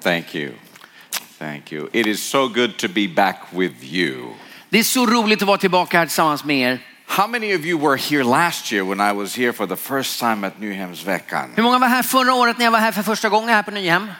Thank you. Thank you. It is so good to be back with you. Det är så roligt att vara tillbaka här tillsammans med er. How many of you were here last year when I was here for the first time at Hur Nyhemsveckan? många var här förra året när jag var här för första gången här på Nyhem?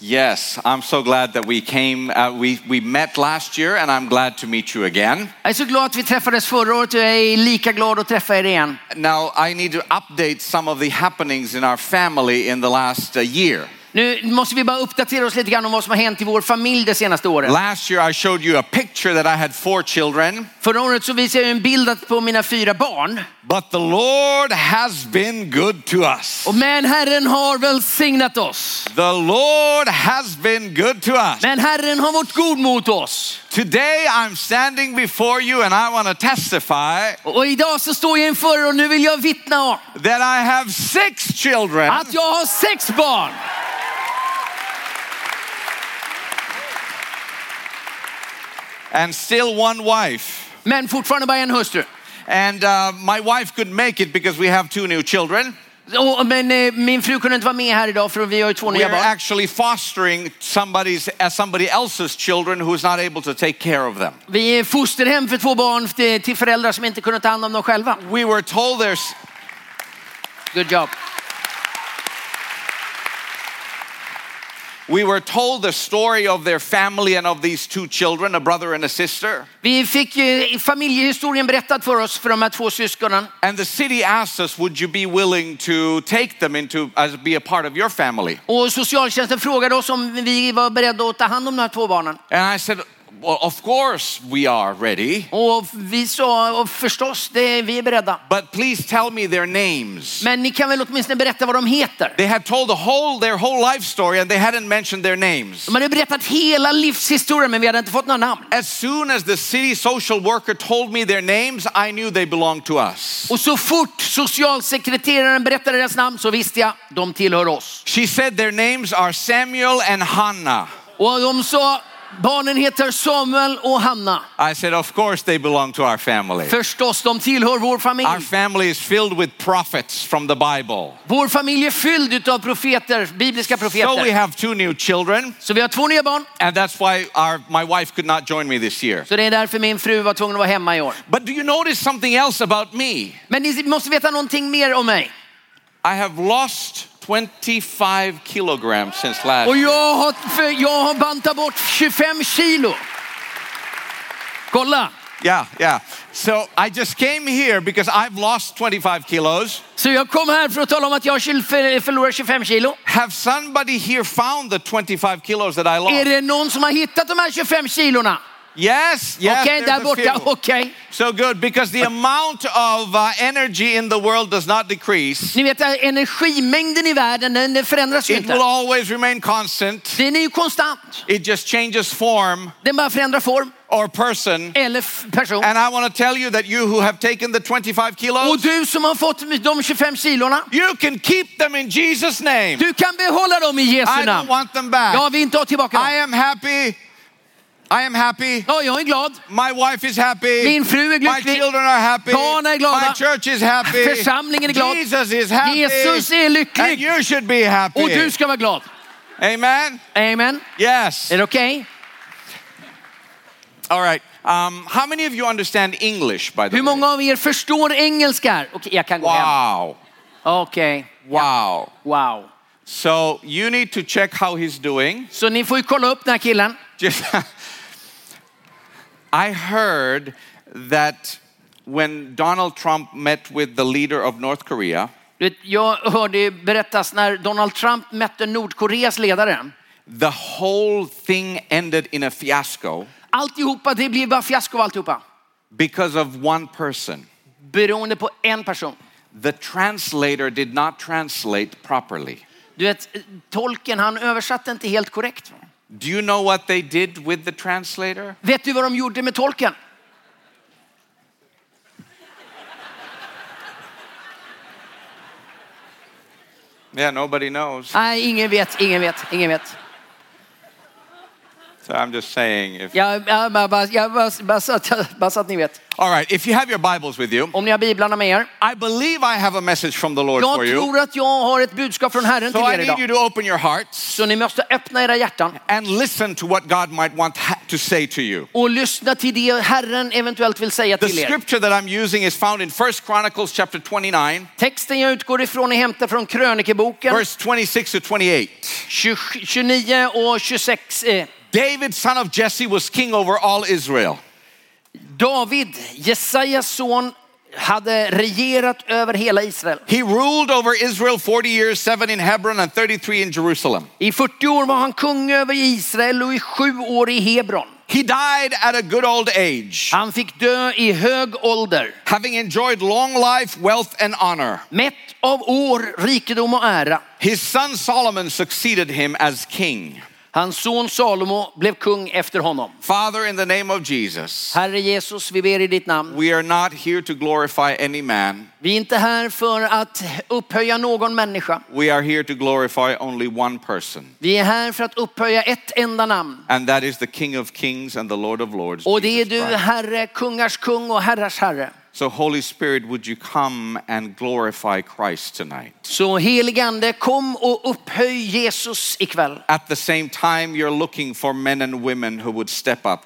Yes, I'm so glad that we came. Uh, we, we met last year, and I'm glad to meet you again. Jag är så glad att vi träffades förra året och jag är lika glad att träffa er igen. Now, I need to update some of the happenings in our family in the last uh, year. Nu måste vi bara uppdatera oss lite grann om vad som har hänt i vår familj det senaste året. Last year, I showed you a picture that I had four children, Förra året så visade jag ju en bild att- på mina fyra barn. but the Lord has been good to us. Och men Herren har välsignat oss. The Lord has been good to us. Men Herren har varit god mot oss. Today I'm standing before you and I want to testify Och idag så står jag inför er och nu vill jag vittna om that I have six children. att jag har sex barn. and still one wife. Men fortfarande bara en hustru. And uh, my wife couldn't make it because we have two new children. Och, men eh, min fru kunde inte vara med här idag för vi har ju två We nya are barn. actually fostering somebody's, uh, somebody else's children who's not able to take care of them. Vi är fosterhem för två barn till, till föräldrar som inte kunde ta hand om dem själva. We were told there's, Good job. we were told the story of their family and of these two children, a brother and a sister. Vi fick eh, familjehistorien berättad för oss för de här två syskonen. And the city asked us, would you be willing to take them into, as be a part of your family? Och socialtjänsten frågade oss om vi var beredda att ta hand om de här två barnen. And I said, well, of course we are ready, Och vi sa och förstås, det, vi är beredda. but please tell me their names. Men ni kan väl åtminstone berätta vad de heter? They had told the whole, their whole life story and they hadn't mentioned their names. De hade berättat hela livshistorien men vi hade inte fått några namn. As soon as the city social worker told me their names, I knew they belonged to us. Och så fort socialsekreteraren berättade deras namn så visste jag, de tillhör oss. She said their names are Samuel and Hannah. Och de sa, barnen heter Samuel och Hanna. I said, of course they belong to our family. Förstås, de tillhör vår familj. Our family is filled with prophets from the Bible. Vår familj är fylld av profeter, bibliska So we profeter. have two new children, Så vi har två nya barn. and that's why our, my wife could not join me this year. Så det är därför min fru var tvungen att vara hemma i år. But do you notice something else about me? Men ni måste veta någonting mer om mig. I have lost 25 kilograms since last Och year. jag har, för jag har bantat bort 25 kilo. Kolla! Yeah, yeah. So I just came here because I've lost 25 kilos. Så jag kom här för att tala om att jag kyl- för- förlorar 25 kilo. Have somebody here found the 25 kilos that I Är lost? det någon som har hittat de här 25 kilona? Yes, yes. Okej, there's där a borta. few. Okej. So good because the amount of uh, energy in the world does not decrease. Ni vet, energimängden i världen den den förändras ju It will inte. always remain constant. Den är ju konstant. It just changes form Den bara förändrar form or person. eller f- person. And I want to tell you that you who have taken the 25 Och kilos, du som har fått de 25 kilona, you can keep them in Jesus' name. du kan behålla dem i Jesu I don't namn. want them back. Jag vill inte ha tillbaka I dem. am happy. I am happy. Ja, jag är glad. My wife is happy. Min fru är My lycklig. children are happy. Barnen är glada. My church is happy. Församlingen är glad. Jesus is happy. Jesus Oh, är And lycklig. you should be happy. Och du ska vara glad. Amen. Amen. Yes. Är det okej? All right. Um, how many of you understand English, by the Hur way? många av er förstår engelska? här? Okej, jag kan gå hem. Wow. Okej, Wow. wow. So you need to check how he's doing. Så ni får ju kolla upp den här killen. Just I heard that when Donald Trump met with the leader of North Korea, Du vet, Jag hörde ju berättas när Donald Trump mötte Nordkoreas ledare. the whole thing ended in a fiasco Alltihopa, det blir bara fiasko av alltihopa. because of one person. Beroende på en person. The translator did not translate properly. Du vet, tolken han översatte inte helt korrekt. va? Do you know what they did with the translator? Vet du vad de gjorde med tolken? Yeah, nobody knows. Uh, Nej, ingen vet, ingen vet, ingen vet. So I'm just saying. If, Jag, jag, bara, bara, jag bara, bara, så att, jag- bara så att ni vet. All right, if you have your Bibles with you, Om ni har biblarna med er. I believe I have a message from the Lord for Jag you. tror att jag har ett budskap från Herren till So I er need idag. you to open your hearts Så ni måste öppna era hjärtan and listen to what God might want ha- to say to you. och lyssna till det Herren eventuellt vill säga The till er. scripture that I'm using is found in 1 Chronicles chapter 29, Texten jag utgår ifrån är hämtad från krönikeboken verse 26 to 28. 20, 29 och 26. eh, David, son of Jesse, was king over all Israel. David, Jesajas son, hade regerat över hela Israel. He ruled over Israel 40 years, 7 in Hebron and 33 in Jerusalem. I 40 år var han kung över Israel och i sju år i Hebron. He died at a good old age, Han fick dö i hög ålder, having enjoyed long life, wealth, and honor. mätt av år, rikedom och ära. His son Solomon succeeded him as king. Hans son Salomo blev kung efter honom. Father, in the name of Jesus, Herre Jesus, vi ber i ditt namn. we are not here to glorify any man. Vi är inte här för att upphöja någon människa. We are here to glorify only one person, Vi är här för att upphöja ett enda namn. and that is the King of Kings and the Lord of Lords. Och det är Jesus du, Christ. Herre, kungars kung och herrars herre. So, Holy Spirit, would you come and glorify Christ tonight? Så heligande, kom och upphöj Jesus ikväll. At the same time, you're looking for men and women who would step up,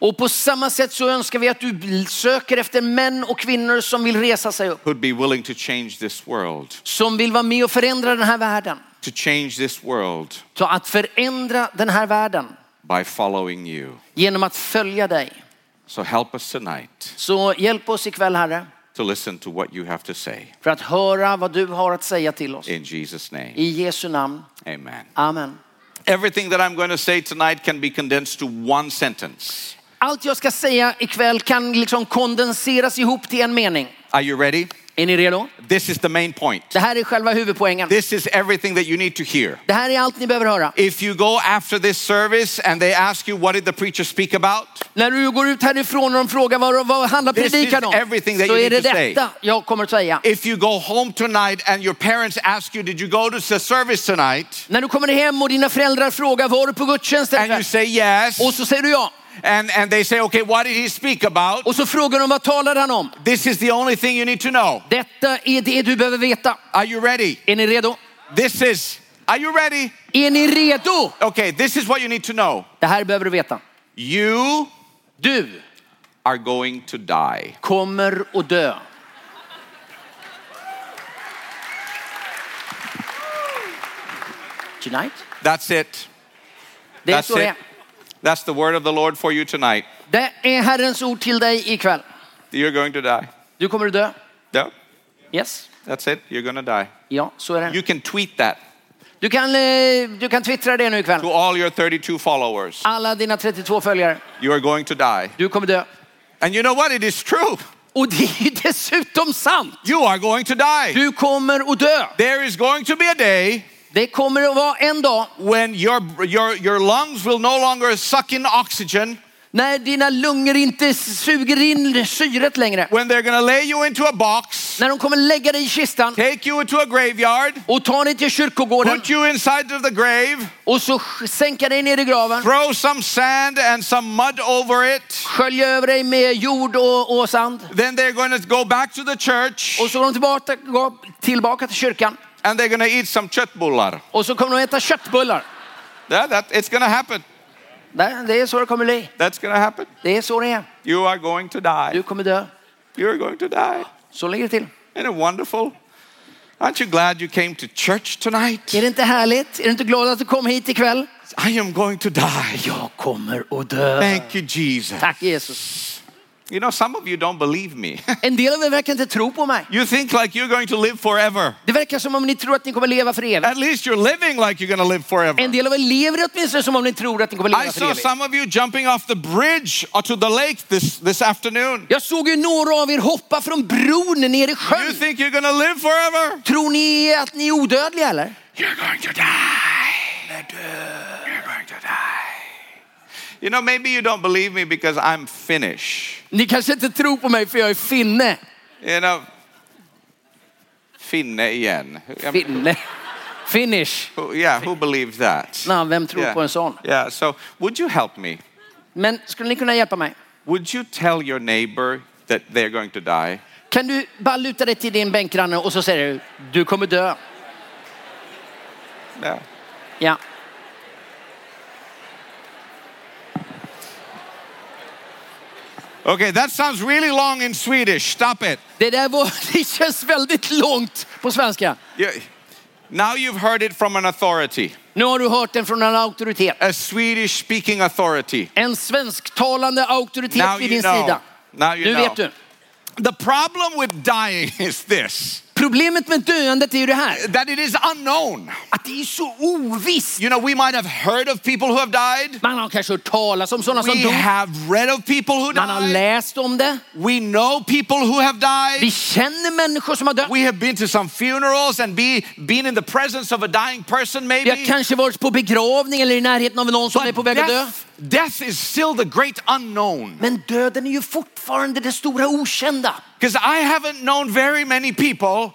Och på samma sätt så önskar vi att du söker efter män och kvinnor som vill resa sig upp. who'd be willing to change this world, Som vill vara med och förändra den här världen. to change this world Så att förändra den här världen by following you. genom att följa dig. So, help us tonight Så hjälp oss ikväll Herre to listen to what you have to say. för att höra vad du har att säga till oss. In Jesus' name, I Jesu namn. amen. Amen. Everything that I'm going to say tonight can be condensed to one sentence. Allt jag ska säga ikväll kan liksom kondenseras ihop till en mening. Are you ready? Är ni redo? This is the main point. Det här är själva huvudpoängen. This is everything that you need to hear. Det här är allt ni behöver höra. If you go after this service and they ask you, what did the preacher speak about? När du går ut härifrån och de frågar vad, vad handlar This is predikan om? everything that Så you är det need to say. detta jag kommer att säga. If you go home tonight and your parents ask you, did you go to the service tonight? När du kommer hem och dina föräldrar frågar var du på gudstjänsten? And you ikväll?" say yes. Och så säger du ja. And, and they say, okay, what did he speak about? Och så frågar de vad talade han om? This is the only thing you need to know. Detta är det du behöver veta. Are you ready? Är ni redo? This is, are you ready? Är ni redo? Okay, this is what you need to know. Det här behöver du veta. You Du are going to die. kommer att dö. Tonight? That's it. Det är That's så det it. är. That's the word of the Lord for you tonight. Det är Herrens ord till dig ikväll. You're going to die. Du kommer att dö. No, Yes. that's it. You're going to die. Ja, så är det. You can tweet that Du kan, eh, du kan twittra det nu to ikväll. all your 32 followers. Alla dina 32 följare. You are going to die. Du kommer dö. And you know what? It is true. Och det är ju dessutom sant. You are going to die. Du kommer att dö. There is going to be a day Det kommer att vara en dag when your, your, your lungs will no longer suck in oxygen, när dina lungor inte suger in syret längre. when they're going to lay you into a box, När de kommer lägga dig i kistan take you into a graveyard, och ta dig till kyrkogården put you inside of the grave, och så sk- sänka dig ner i graven. throw some sand and some mud over it. Skölja över dig med jord och, och sand. Then they're going to go back to the church Och så går de tillbaka, går tillbaka till kyrkan and they're going to eat some köttbullar. och så kommer de äta köttbullar. Yeah, that, it's going to happen. Det det är så det kommer bli. That's going to happen. Det är så det är. You are going to die. Du kommer dö. You're going to die. Så ligger det till. Isn't it wonderful? Aren't you glad you came to church tonight? Är det inte härligt? Är du inte glad att du kom hit ikväll? I am going to die. Jag kommer att dö. Thank you, Jesus. Tack Jesus. You know, some of you don't believe me. En del av er verkar inte tro på mig. you think like you're going to live forever. Det verkar som om ni tror att ni kommer leva för evigt. At least you're living like you're going to live forever. En del av er lever åtminstone som om ni tror att ni kommer I leva för saw evigt. some of you jumping off the bridge or to the lake this, this afternoon. Jag såg ju några av er hoppa från bron ner i You sjön. think you're going to live forever? Tror ni att ni är odödliga eller? You're going to die. You're going to die. You know, maybe you don't believe me because I'm Finnish. Ni kanske inte tror på mig för jag är finne. You know, finne igen. Finne. Finish. Who- yeah, who believes that? Nah, vem tror på en Yeah. sån? yeah, so would you help me? Men skulle ni kunna hjälpa mig? Would you tell your neighbor that they're going to die? Kan du bara luta dig till din bänkgranne och så säger du, du kommer dö. Yeah. Ja. Okay, that sounds really long in Swedish. Stop it. Det där var, det känns väldigt långt på svenska. Yeah. Now you've heard it from an authority, Nu har du hört den från en auktoritet. a Swedish speaking authority. En svensktalande auktoritet Now vid you din know. sida. Now you Nu know. vet du. The problem with dying is this Problemet med döendet är ju det här, that it is unknown. att det är så ovisst. You know, we might have heard of people who have died. Man har kanske hört talas om sådana som We dog. have read of people who Man har died. läst om det. We know people who have died. Vi känner människor som har dött. We have been to some funerals and be, been in the presence of a dying person, Vi har maybe. kanske varit på begravning eller i närheten av någon som är på väg att dö. death, death is still the great unknown. Men döden är ju fortfarande det stora okända. Because I haven't known very many people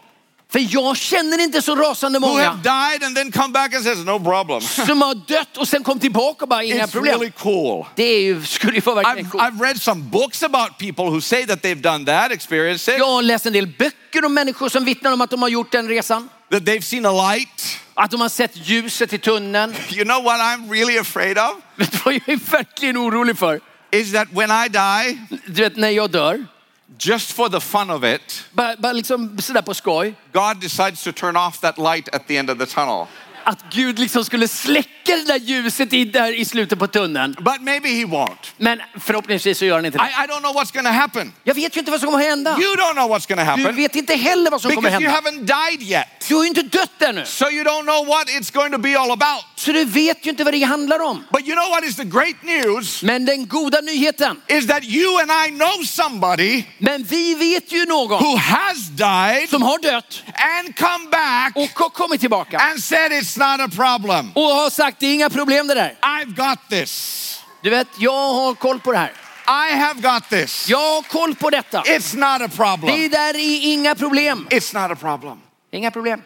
För jag känner inte så rasande who många have died and then come back and says, no problem. som har dött och sen kom tillbaka och bara inga It's problem. really cool. Det är ju, skulle ju vara verkligen I've, coolt. I've read some books about people who say that they've done that, experienced it, Jag har läst en del böcker om människor som vittnar om att de har gjort den resan. that they've seen a light. Att de har sett ljuset i tunneln. You know what I'm really afraid of? Vet du vad jag är verkligen orolig för? Is that when I die, Du vet när jag dör, just for the fun of it, bara, bara liksom sådär på skoj, God decides to turn off that light at the end of the tunnel. att Gud liksom skulle släcka det där ljuset i, där i slutet på tunneln. But maybe he won't. Men förhoppningsvis så gör han inte det. I, I don't know what's going to happen. Jag vet ju inte vad som kommer hända. You don't know what's going to Du happen vet inte heller vad som kommer because you hända. haven't died yet. Du har ju inte dött ännu. So you don't know what it's going to be all about. Så du vet ju inte vad det handlar om. But you know what is the great news? Men den goda nyheten, Is that you and I know somebody men vi vet ju någon who has died som har dött and come back och har kommit tillbaka and said it's not a problem. och har sagt det är inga problem det där. I've got this. Du vet, jag har koll på det här. I have got this. Jag har koll på detta. It's not a Det problem. där är inga problem. It's not a problem. Inga problem.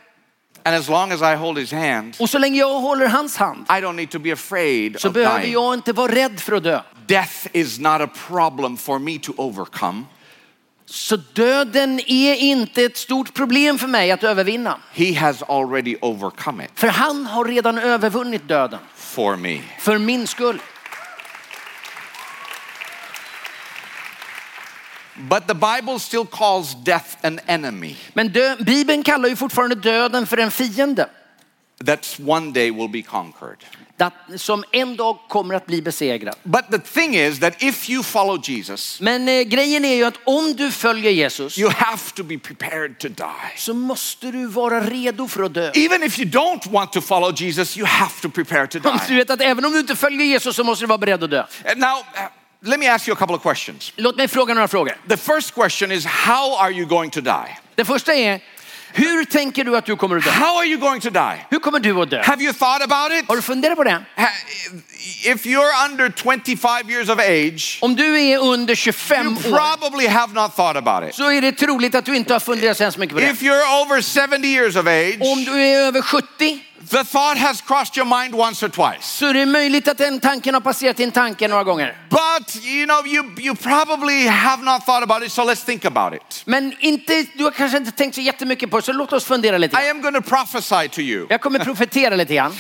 And as long as I hold his hand, Och så länge jag håller hans hand I don't need to be afraid så of behöver dying. jag inte vara rädd för att dö. Death is not a problem for me to overcome. Så döden är inte ett stort problem för mig att övervinna. He has already overcome it För han har redan övervunnit döden. for me. För min skull. But the Bible still calls death an enemy Men dö- Bibeln kallar ju fortfarande döden för en fiende. that one day will be conquered. dat- Som en dag kommer att bli besegrad. But the thing is that if you follow Jesus, Men eh, grejen är ju att om du följer Jesus you have to be prepared to die. så måste du vara redo för att dö. Even if you don't want to follow Jesus, you have to prepare to Du die. vet att även om du inte följer Jesus så måste du vara beredd att dö. And now, uh, let me ask you a couple of questions. Låt mig fråga några frågor. The first question is How are you going to die? Det första är, hur tänker du att du kommer att dö? How are you going to die? Hur kommer du att dö? Have you thought about it? Har du funderat på det? Ha- If you're under 25 years of age, Om du är under you 25 år probably have not thought about it. så är det troligt att du inte har funderat så hemskt mycket på det. If you're over 70 years of age, Om du är över 70 the thought has crossed your mind once or twice. så är det möjligt att den tanken har passerat din tanke några gånger. But you know, you, you probably have not thought about it, so let's think about it. Men inte, du har kanske inte tänkt så jättemycket på det, så låt oss fundera lite. I grann. am going to prophesy to you Jag kommer profetera lite grann.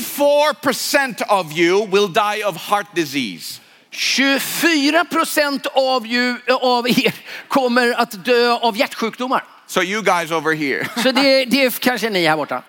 24% of you will die of heart disease. 24 procent av, ju, av er kommer att dö av hjärtsjukdomar. So, you guys over here, Så det, det är kanske ni här borta.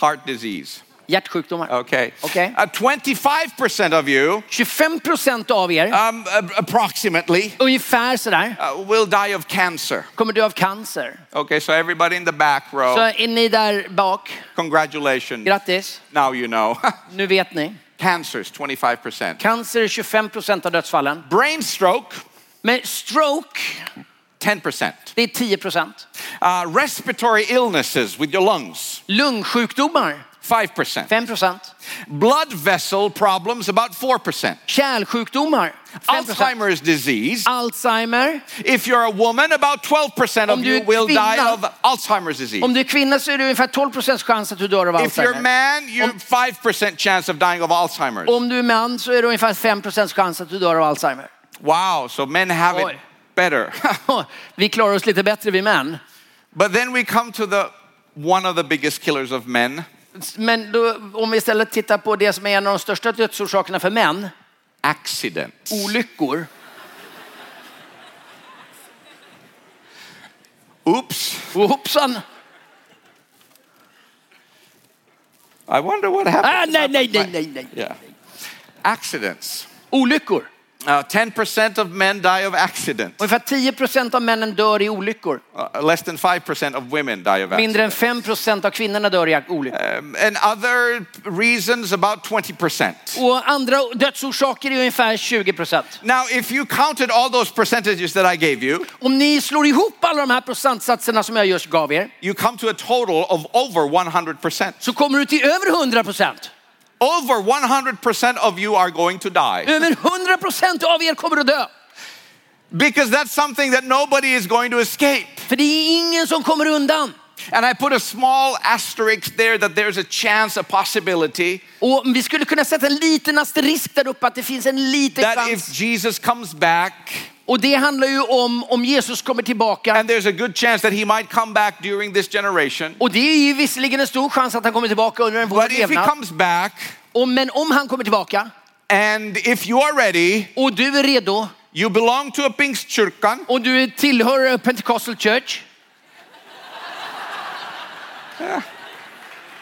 heart disease. Hjärtsjukdomar. Okay. Okay. Uh, 25% of you, 25 procent av er, um, ab- approximately, ungefär sådär, uh, will die of cancer. kommer dö av cancer. Okay, so everybody in the back Så row, är ni där bak, congratulations. grattis. Now you know. Nu vet ni. Cancers, 25%. Cancer är 25 procent av dödsfallen. Brain stroke, Men stroke, 10%. det är 10 procent. Uh, respiratory illnesses with your lungs, Lungsjukdomar, 5%. 5 procent. Blood vessel problems, about 4%. Kärlsjukdomar, 5 procent. Alzheimer's Um, disease, Alzheimer. if you're a woman, about 12% Om of du är you will die kvinna- of Alzheimer's disease. Om du är kvinna så är det ungefär 12 procents chans att du dör av If you're a Alzheimer. man, you have 5% chance of dying of Alzheimer's. Om du är man så är det ungefär 5 procents chans att du dör av Alzheimer. Wow, so men have it Oj. better. Vi klarar oss lite bättre vi män. but then we come to the one of the biggest killers of men, Men då, om vi istället tittar på det som är en av de största dödsorsakerna för män, accidents. olyckor. Oops. Och hoppsan! I wonder what happened. Ah, nej, nej, nej, nej, nej. Yeah. Accidents. Olyckor. Uh, 10% of men die of accidents. Ungefär 10 procent av männen dör i olyckor. Uh, less than 5% of women die of accidents. Mindre än 5 procent av kvinnorna dör i olyckor. Um, and other reasons, about 20%. Och andra dödsorsaker är ungefär 20 procent. Now, if you counted all those percentages that I gave you, Om ni slår ihop alla de här procentsatserna som jag just gav er you come to a total of over 100%. så kommer du till över 100 procent. Over 100% of you are going to die Över 100 procent av er kommer att dö. because that's something that nobody is going to escape. För det är ingen som kommer undan. And I put a small asterisk there that there's a chance, a possibility Och vi skulle kunna sätta en liten asterisk där uppe att det finns en liten that if chans. Jesus comes back, Och det handlar ju om om Jesus kommer tillbaka. and there's a good chance that he might come back during this generation, Och det är ju visserligen en stor chans att han kommer tillbaka under en vår but if he levnad. comes back, Och, men om han kommer tillbaka and if you are ready, och du är redo you belong to a Pingstkyrkan. och du tillhör Pentecostal Church.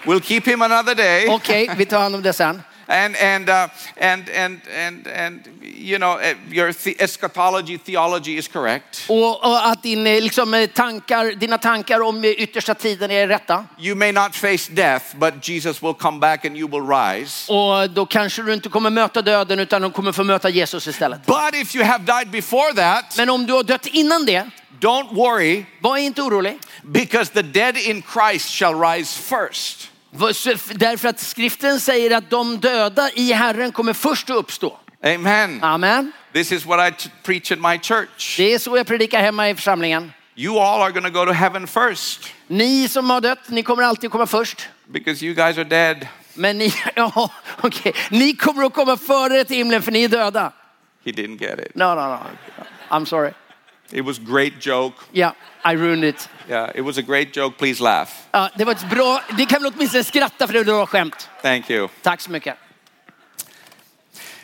We'll keep him another day. Okej, vi tar hand om det sen. and and uh, and and and and you know eh, your the- eschatology theology is correct. Och, och att din, eh, liksom, eh, tankar, dina tankar om eh, yttersta tiden är rätta. You may not face death, but Jesus will come back and you will rise. Och då kanske du inte kommer möta döden utan du kommer få möta Jesus istället. But if you have died before that, Men om du har dött innan det, don't worry, var inte orolig. because the dead in Christ shall rise first. För- så- f- Därför att skriften säger att de döda i Herren kommer först att uppstå. Amen. Amen. This is what I t- preach at my church. Det är så jag predikar hemma i församlingen. You all are going to go to heaven first Ni som har dött, ni kommer alltid komma först. because you guys are dead. Men ni, ja, okej. ni kommer att komma före till himlen för ni är döda. He didn't get it. No, no, no. I'm sorry. It was great joke. Yeah, I ruined it. Yeah, it was a great joke. Please laugh. Ja, det var ett bra, ni kan väl åtminstone skratta för det var ett bra skämt. Thank you. Tack så mycket.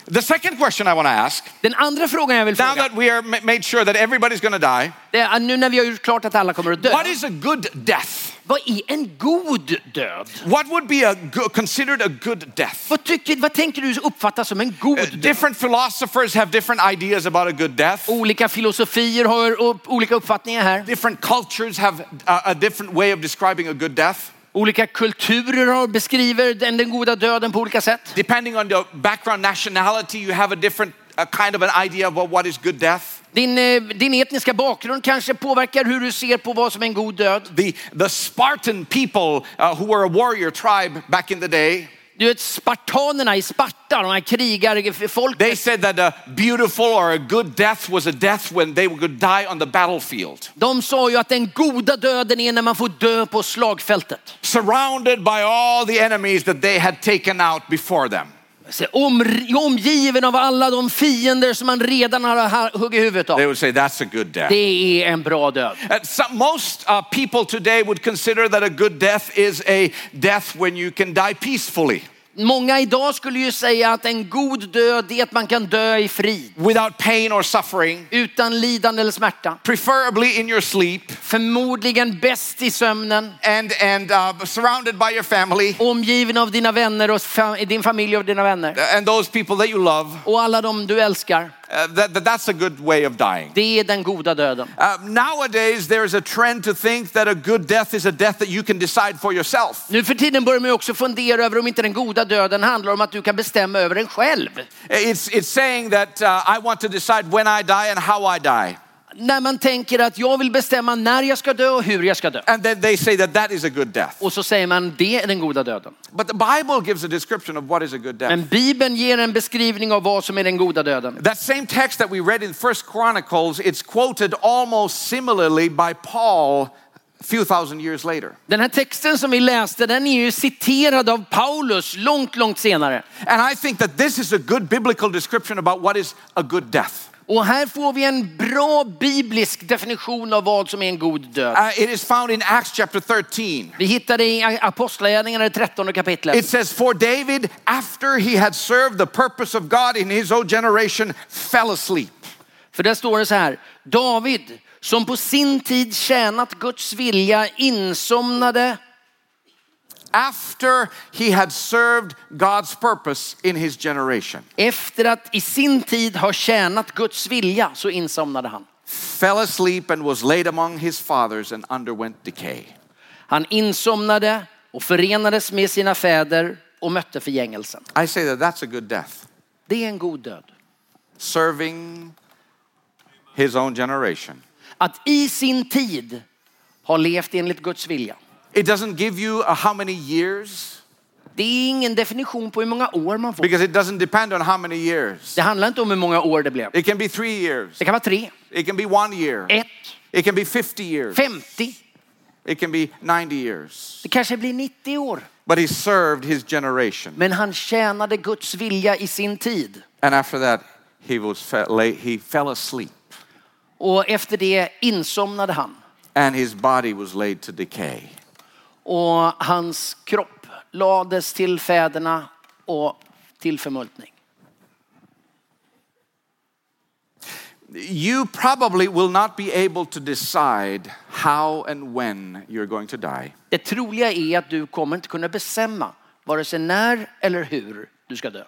The second question I want to ask, Den andra frågan jag vill now fråga, that we are ma- made sure that everybody's going to die, det är, nu när vi har gjort klart att alla kommer att dö. what is a good death? Vad är en god död? What would be a go- considered a good death? Vad, tycker, vad tänker du uppfattas som en god Uh, död? Different philosophers have different ideas about a good death. Olika filosofier har upp, olika uppfattningar här. Different cultures have uh, a, a different way of describing a good death, Olika kulturer har, beskriver den, den goda döden på olika sätt. depending on your background, nationality. You have a different uh kind of an idea about what is good death. Din, eh, din etniska bakgrund kanske påverkar hur du ser på vad som är en god död. The the Spartan people uh, who were a warrior tribe back in the day. Du vet, spartanerna i Sparta, de här krigarfolket, They said that a beautiful or a good death was a death when they would die on the battlefield, de sa ju att den goda döden är när man får dö på slagfältet. surrounded by all the enemies that they had taken out before them. Så Om, omgiven av alla de fiender som man redan har ha- huggit huvudet They av. would say that's a good death. Det är en bra död. And some, most uh, people today would consider that a good death is a death when you can die peacefully, Många idag skulle ju säga att en god död är att man kan dö i frid. without pain or suffering, Utan lidande eller smärta. preferably in your sleep Förmodligen bäst i sömnen. and, and uh, surrounded by your family Omgiven av dina vänner och fa- din familj och dina vänner. uh, and those people that you love. Och alla de du älskar. Uh, that, that, that's a good way of dying. Det är den goda döden. Uh, nowadays, there's a trend to think that a good death is a death that you can decide for yourself. Nu för tiden börjar man ju också fundera över om inte den goda döden handlar om att du kan bestämma över den själv. It's, it's saying that uh, I want to decide when I die and how I die. när man tänker att jag vill bestämma när jag ska dö och hur jag ska dö. And then they say that that is a good death. Och så säger man det är den goda döden. But the Bible gives a description of what is a good death. Men Bibeln ger en beskrivning av vad som är den goda döden. That same text that we read in First Chronicles, it's quoted almost similarly by Paul a few thousand years later. Den här texten som vi läste den är ju citerad av Paulus långt, långt senare. And I think that this is a good biblical description about what is a good death. Och här får vi en bra biblisk definition av vad som är en god död. Uh, it is found in Acts chapter 13. Vi hittar det i Apostlagärningarna, det trettonde It kapitlet. says, For David, after he had served the purpose of God in his own generation, fell asleep. För där står det så här. David, som på sin tid tjänat Guds vilja, insomnade After he had served God's purpose in his generation, efter att i sin tid ha tjänat Guds vilja, så insomnade han. fell asleep and was laid among his fathers and underwent decay. Han insomnade och förenades med sina fäder och mötte förgängelsen. I say that that's a good death. Det är en god död. Serving his own generation. Att i sin tid ha levt enligt Guds vilja. It doesn't give you a how many years Det är ingen definition på hur många år man får. because it doesn't depend on how many years. Det handlar inte om hur många år det blev. It can be three years, Det kan vara tre, it can be one year, ett, it can be 50 years. 50. It can be 90 years. Det kanske blir 90 år. But he served his generation. Men han tjänade Guds vilja i sin tid. And after that, he, was fe- lay, he fell asleep Och efter det insomnade han. and his body was laid to decay. Och hans kropp lades till fäderna och till förmultning. You probably will not be able to decide how and when you're going to die. Det troliga är att du kommer inte kunna bestämma vare sig när eller hur du ska dö.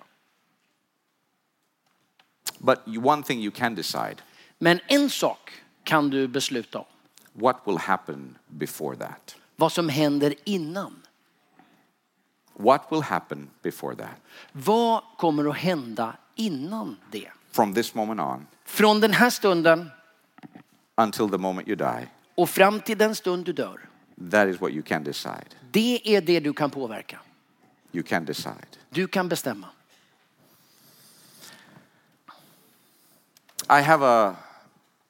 But you- one thing you can decide Men en sak kan du besluta om. what will happen before that? Vad som händer innan. What will happen before that? Vad kommer att hända innan det? From this moment on Från den här stunden until the moment you die, och fram till den stund du dör. that is what you can decide. Det är det du kan påverka. You can decide. Du kan bestämma. I have a,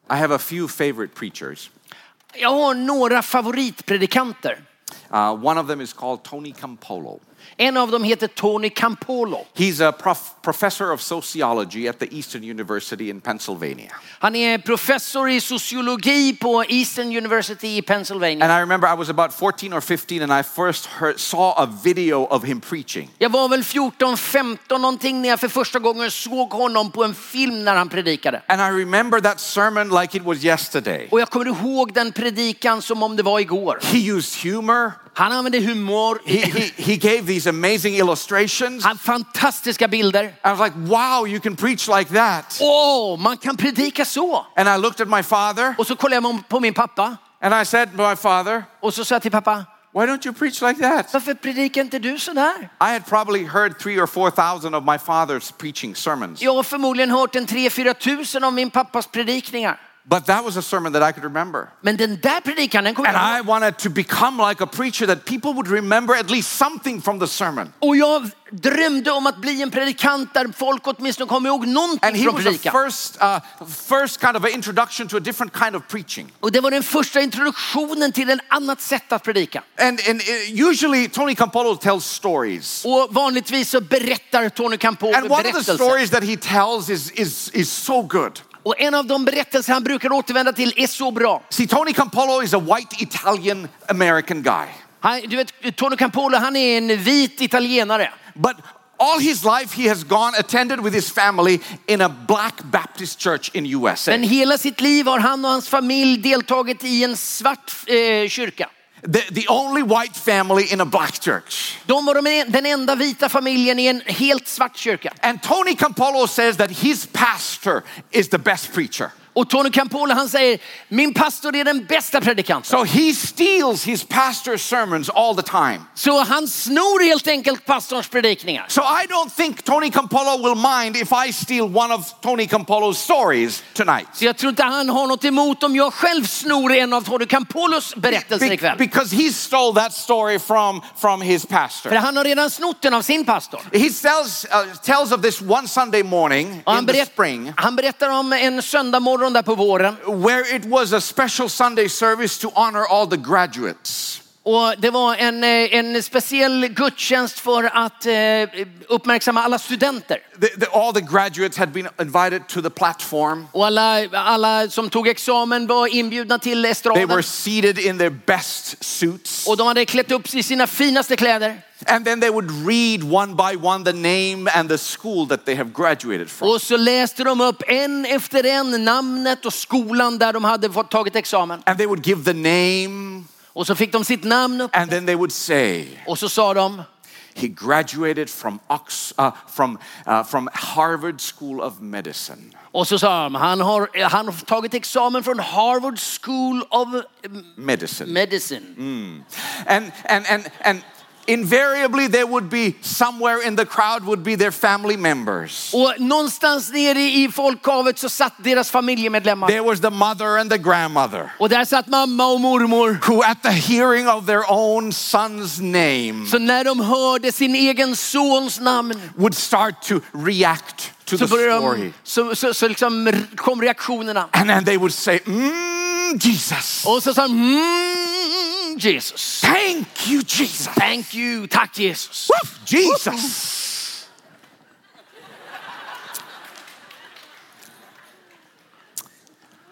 I have a few favorite preachers. Jag har några favoritpredikanter. Uh, one of them is called Tony Campolo. En av dem heter Tony Campolo. He's a prof- professor of sociology at the Eastern University in Pennsylvania. Han är professor i sociologi på Eastern University i Pennsylvania. And I remember I was about 14 or 15 and I first heard, saw a video of him preaching. Jag var väl 14, 15 någonting när jag för första gången såg honom på en film när han predikade. And I remember that sermon like it was yesterday. Och jag kommer ihåg den predikan som om det var igår. He used humor. Han använde humor. He, he, he gave these amazing illustrations. Han fantastiska bilder. I was like, wow, you can preach like that. Åh, man kan predika så. And I looked at my father Och så kollade jag på min pappa and I said, my father, och så sa jag till pappa, why don't you preach like that? varför predikar inte du så där? I had probably heard three or four thousand of my father's preaching sermons, Jag har förmodligen hört en 3-4 tusen av min pappas predikningar. but that was a sermon that I could remember. Men den där predikan, den kommer And jag I ihåg. wanted to become like a preacher that people would remember at least something from the sermon. Och jag drömde om att bli en predikant där folk åtminstone kommer ihåg And någonting he från was the predikan. first, uh, first kind of an introduction to a different kind of preaching. Och det var den första introduktionen till ett annat sätt att predika. And, and uh, usually Tony Campolo tells stories. Och vanligtvis så berättar Tony Campolo And one of the berättelser. stories that he tells is, is, is so good. Och en av de berättelser han brukar återvända till är så bra. See, Tony Campolo is a white Italian American guy. Han, du vet, Tony Campolo, han är en vit italienare. But all his life he has gone attended with his family in a black Baptist church in USA. Men hela sitt liv har han och hans familj deltagit i en svart eh, kyrka. the, the only white family in a black church. De var de, den enda vita familjen i en helt svart kyrka. And Tony Campolo says that his pastor is the best preacher. Och Tony Campola han säger, min pastor är den bästa predikanten. So he steals his pastor's sermons all the time. Så han snor helt enkelt pastorns predikningar. So I don't think Tony Campolo will mind if I steal one of Tony Campolo's stories tonight. Så jag tror inte han har något emot om jag själv snor en av Tony Campolos berättelser Be- ikväll. because he stole that story from, from his För pastor. han har redan snott den av sin pastor. He tells, uh, tells of this one Sunday morning Och in han, the berätt, spring han berättar om en söndagmorgon där på våren. where it was a special Sunday service to honor all the graduates. Och det var en, eh, en speciell gudstjänst för att eh, uppmärksamma alla studenter. The- the- all the graduates had been invited to the platform. Och alla, alla som tog examen var inbjudna till They were estraden. seated in their best suits. Och de hade klätt upp sig i sina finaste kläder. And then they would read one by one the name and the school that they have graduated from. Och så läste de upp en efter en namnet och skolan där de hade fått tagit examen. And they would give the name, Och så fick de sitt namn upp. and then they would say, Och så sa de, He graduated from, Ox- uh, from, uh, from Harvard School of Medicine. och så sa de han, har, han har tagit examen från Harvard School of Medicine. Medicine. Mm. And, and, and, and invariably, there would be somewhere in the crowd would be their family members. Och någonstans nere i folkhavet så satt deras familjemedlemmar. There was the mother and the grandmother Och där satt mamma och mormor. who, at the hearing of their own son's name, Så när de hörde sin egen sons namn would start to react to så, the började story. de, så, så, så liksom r- kom reaktionerna. And then they would say, Mmm, Jesus. Och så sa de, mm, Jesus. Thank you, Jesus. Thank you, tack Jesus. Woof, Jesus.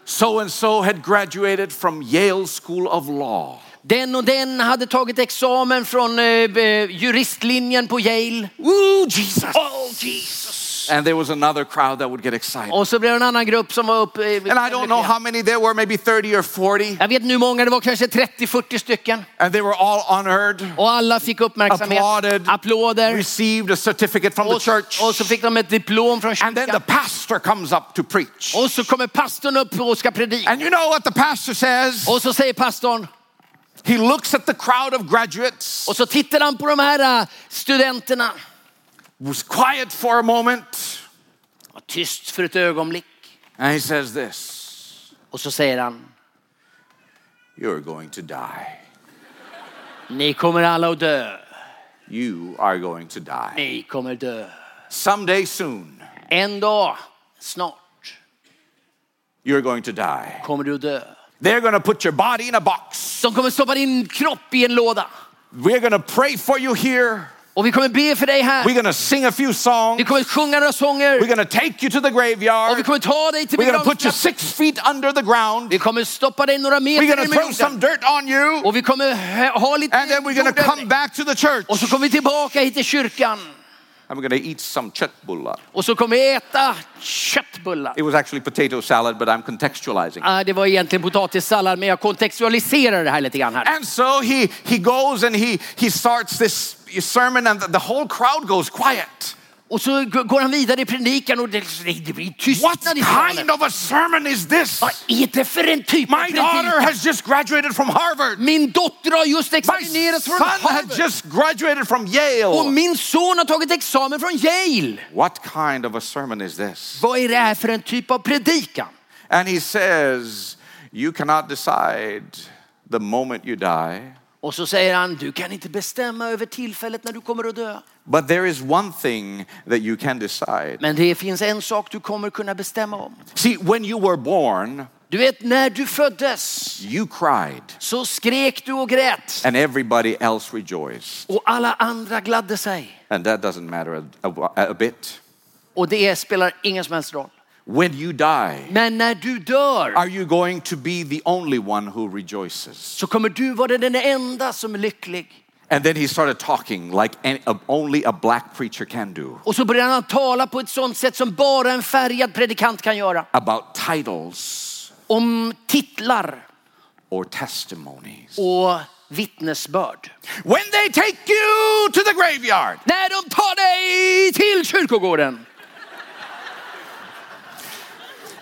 So and so had graduated from Yale School of Law. Den och den hade tagit examen från eh, b- juristlinjen på Yale. Woo, Jesus. Oh Jesus. And there was another crowd that would get excited. Och så blev det en annan grupp som var uppe. eh, And I don't know how many there were, maybe 30 or 40. Jag vet inte hur många, det var kanske 30-40 stycken. And they were all honored, Och alla fick uppmärksamhet. Applauded. Applåder. received a certificate from the Och, church. och så fick de ett diplom från And then the kyrkan. pastor comes up to preach. Och så kommer pastorn upp och ska predika. And you know what the pastor says? Och så säger pastorn, He looks at the crowd of graduates, och så tittar han på de här äh, studenterna. was quiet for a moment, Var tyst för ett ögonblick. and he says this Och så säger han, You're going to die. ni kommer alla att dö. You are going to die. Ni kommer dö. Someday soon, En dag, snart, you're going to die. kommer du att dö. They're going to put your body in a box. De kommer stoppa din kropp i en låda. We're going to pray for you here. Och vi kommer be för dig här. We're going to sing a few songs. Vi kommer sjunga några sånger. We're going to take you to the Och vi graveyard. kommer ta dig till We're going to put you begravningsplatsen. six feet under the ground. Vi kommer stoppa dig några meter We're ner going to med throw jorden. some dirt on you. Och vi kommer ha- ha lite And then we're going to jord över come dig. back to the church. Och så kommer vi tillbaka hit till kyrkan. And we're going to eat some chetbullah. Och så kommer vi äta köttbullar. It was actually potato salad, but I'm contextualizing. Ah, det var egentligen potatissallad, men jag kontextualiserar det här lite grann här. And so he, he goes and he, he starts this sermon, and the, the whole crowd goes quiet. Och så g- går han vidare i predikan och det, det blir What tystnad i kind salen. of a sermon is this? Vad är det för en typ av My daughter predikan? has just graduated from Harvard. Min dotter har just My examinerats från son has Harvard. just graduated from Och Yale. min son har tagit examen från Yale. What kind of a sermon is this? Vad är det här för en typ av predikan? And he says, You cannot decide the moment you die, Och så säger han, du kan inte bestämma över tillfället när du kommer att dö. but there is one thing that you can decide. Men det finns en sak du kommer kunna bestämma om. See, when you were born, Du vet, när du föddes you cried, så skrek du och grät. and everybody else rejoiced. Och alla andra gladde sig. And that doesn't matter a, a- a bit. Och det spelar ingen som helst roll. When you die, Men när du dör are you going to be the only one who rejoices? så kommer du vara den enda som är lycklig. And then he started talking like an- uh, only a black preacher can do Och så börjar han tala på ett sånt sätt som bara en färgad predikant kan göra. about titles Om titlar or testimonies. och vittnesbörd. When they take you to the graveyard, När de tar dig till kyrkogården and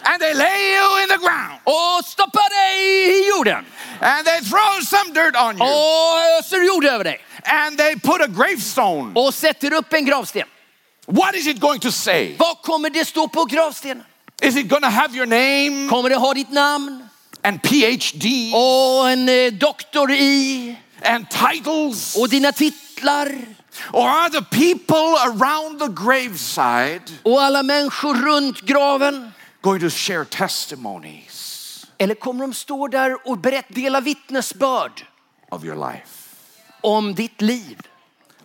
And they lay you in the ground. och stoppar dig i jorden And they throw some dirt on you. och öser jord över dig And they put a gravestone. och sätter upp en gravsten. What is it going to say? Vad kommer det stå på gravstenen? Is it going to have your name Kommer det ha ditt namn and PhD och en eh, doktor i and titles? och dina titlar Or are the people around the graveside och alla människor runt graven? going to share testimonies Eller kommer de stå där och berätt, dela vittnesbörd of your life? om ditt liv?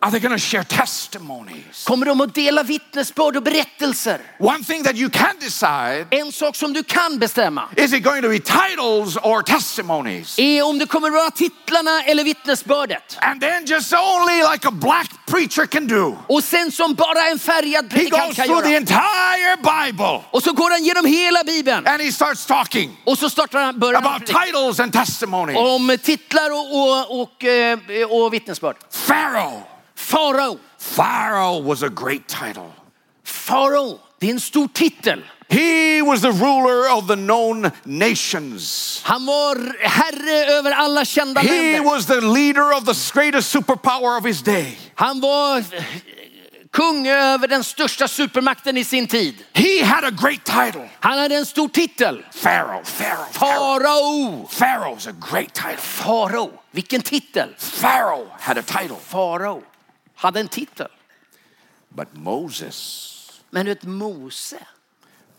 Are they going to share testimonies? Kommer de att dela vittnesbörd och berättelser? One thing that you can decide En sak som du kan bestämma is it going to be titles or testimonies? är om det kommer vara titlarna eller vittnesbördet. And then just only like a black preacher can do. Och sen som bara en färgad He predikant goes kan through the göra. entire Bible Och så går han genom hela Bibeln and he starts talking och så startar han, börjar han about predika titles and testimonies. om titlar och, och, och, eh, och vittnesbörd. Pharaoh. Farao. Pharaoh was a great title. Farao, det är en stor titel. He was the ruler of the known nations. Han var herre över alla kända He länder. was the leader of the greatest superpower of his day. Han var eh, kung över den största supermakten i sin tid. He had a great title. Han hade en stor titel. Pharaoh, Pharaoh, Pharaoh. Farao. Pharaoh's a great title. Farao. Vilken titel. Pharaoh had a title. Farao hade en titel. But Moses, Men du vet, Mose,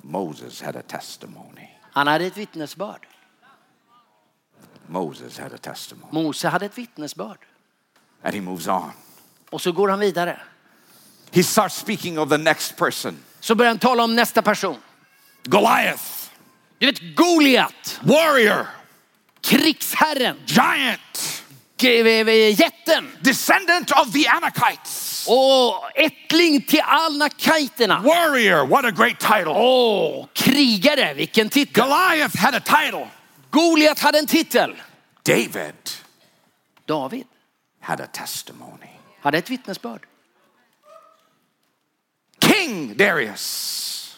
Moses had a testimony. han hade ett vittnesbörd. Moses had a testimony. Mose hade ett vittnesbörd. And he moves on. Och så går han vidare. He starts speaking of the next person Så börjar han tala om nästa person. Goliath, Du vet Goliat, warrior, krigsherren, giant, g- v- v- jätten descendant of the Anakites. och ättling till anakajterna. Warrior, what a great title. Oh, Åh, krigare, vilken titel. Goliath had a title. Goliat hade en titel. David David had a testimony. hade ett vittnesbörd. King Darius,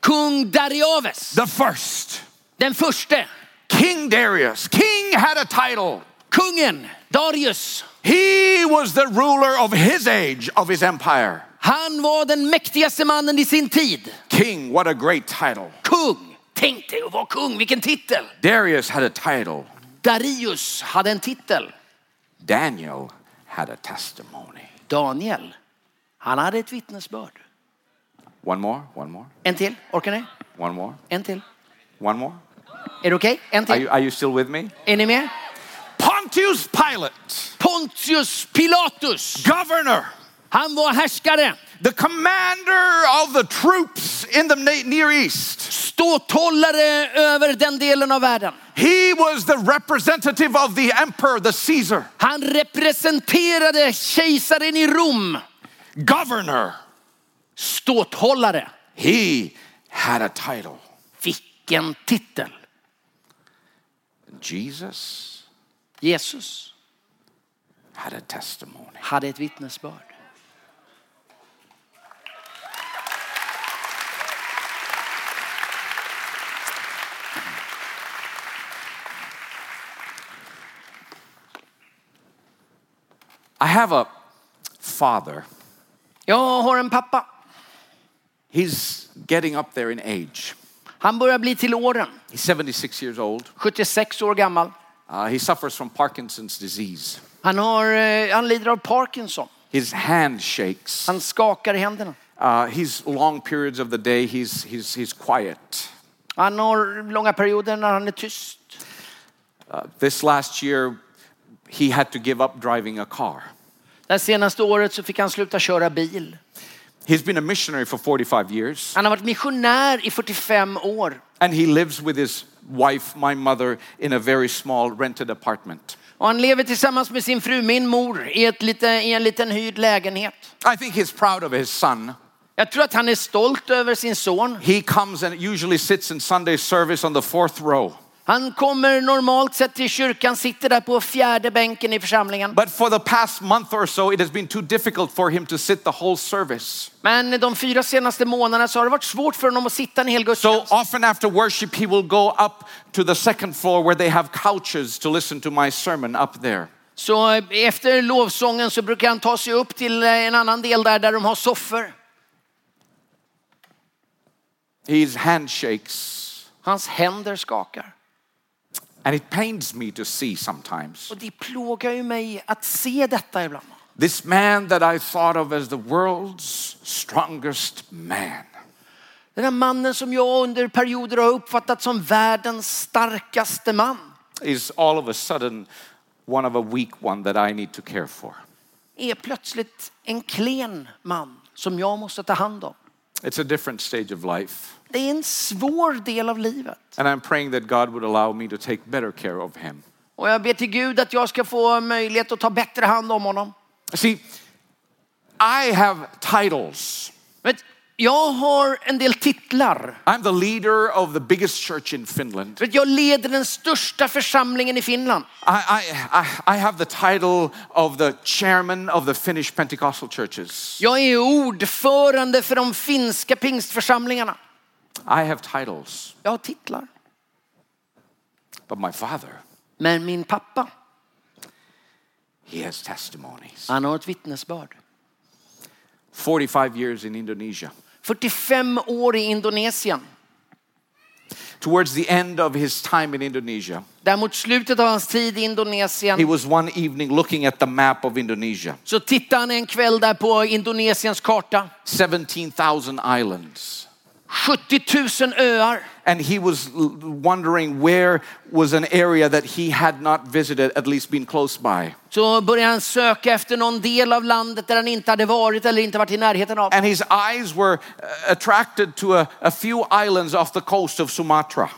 Kung Darius, the first. den förste. King Darius, king had a title. Kungen Darius, He was the ruler of his age, of his empire. han var den mäktigaste mannen i sin tid. King, what a great title. Kung, tänk dig att vara kung, vilken titel. Darius had a title. Darius hade en titel. Daniel had a testimony. Daniel, han hade ett vittnesbörd. One more, one more, En till, orkar ni? one more, En till. one more. Är det okej? En Are till. you, are you still with me? Är ni med? Pontius Pilate, Pontius Pilatus, governor, han var härskare, the commander of the troops in the Na- Near East. ståthållare över den delen av världen. He was the representative of the emperor, the Caesar, Han representerade kejsaren i Rom, governor. ståthållare. He had a title. Vilken titel! Jesus Jesus had a testimony. hade ett vittnesbörd. I have a father. Jag har en pappa. He's getting up there in age. Han börjar bli till åren, He's 76 years old. 76 år gammal. Uh, he suffers from Parkinson's disease. Han, har, eh, han lider av Parkinson. His hand shakes. Han skakar i händerna. Uh, he's long periods of the day, he's, he's, he's quiet. Han har långa perioder när han är tyst. Uh, this last year, he had to give up driving a car. Det här senaste året så fick han sluta köra bil. He's been a missionary for 45 years, Han har varit missionär i 45 år and he lives with his wife, my mother, in a very small rented apartment. och han lever tillsammans med sin fru, min mor, i, ett lite, i en liten hyrd lägenhet. I think he's proud of his son. Jag tror att han är stolt över sin son. He comes and usually sits in Sunday service on the fourth row. Han kommer normalt sett till kyrkan, sitter där på fjärde bänken i församlingen. But for the past month or so, it has been too difficult for him to sit the whole service. Men de fyra senaste månaderna så har det varit svårt för honom att sitta en hel So gudstjänst. often after worship, he will go up to the second floor where they have couches to listen to my sermon up there. Så eh, efter lovsången så brukar han ta sig upp till eh, en annan del där, där de har soffor. His handshakes. Hans händer skakar. And it pains me to see sometimes. Och det plågar ju mig att se detta ibland. This man that I thought of as the world's strongest man. Den här mannen som jag under perioder har uppfattat som världens starkaste man is all of a sudden one of a weak one that I need to care for. är plötsligt en klen man som jag måste ta hand om. It's a different stage of life. Det är en svår del av livet. And I'm praying that God would allow me to take better care of him. Och jag ber till Gud att jag ska få möjlighet att ta bättre hand om honom. See, I have titles. Vet, jag har en del titlar. I'm the leader of the biggest church in Finland. Vet, jag leder den största församlingen i Finland. I, I, I, I have the title of the chairman of the Finnish Pentecostal churches. Jag är ordförande för de finska pingstförsamlingarna. I have titles, Jag har titlar. but my father, Men min pappa, he has testimonies. han har ett vittnesbörd. 45 years in Indonesia. 45 år i Indonesien. Towards the end of his time in Indonesia, Där mot slutet av hans tid i He Indonesien was one evening looking at the map of Indonesia. så tittade han en kväll där på Indonesiens karta. 17,000 islands. 70 000 öar. And he was l- wondering where was an area that he had not visited, at least been close by. Så började han söka efter någon del av landet där han inte hade varit eller inte varit i närheten av. And his eyes were uh, attracted to a, a few islands off the coast of Sumatra.